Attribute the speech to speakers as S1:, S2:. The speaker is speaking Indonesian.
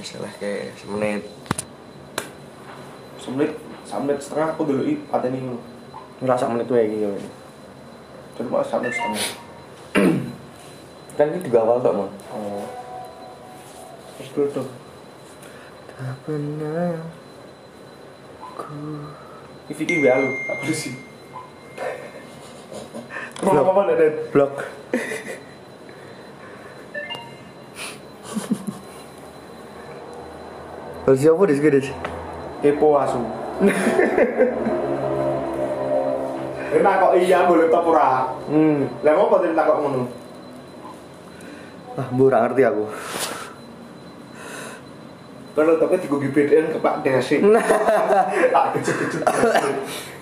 S1: salah Ya, kayak semenit
S2: semenit sampai setengah aku dulu i pateni ngono
S3: ngerasa menit wae iki yo.
S2: cuma sampai setengah
S1: kan ini juga awal kok mau
S2: oh terus dulu tuh
S3: Tak pernah ku
S2: iki iki wae lu tak bersih Kenapa apa ndak Den?
S3: blok. Harus siapa di sini?
S2: kepo asu Enak kok iya boleh top ora.
S3: Hmm,
S2: Lah ngopo tadi takok ngono?
S3: ah bu, ora ngerti aku.
S2: Kalau tapi digo GBDN ke Pak Desi. Tak kecil-kecil.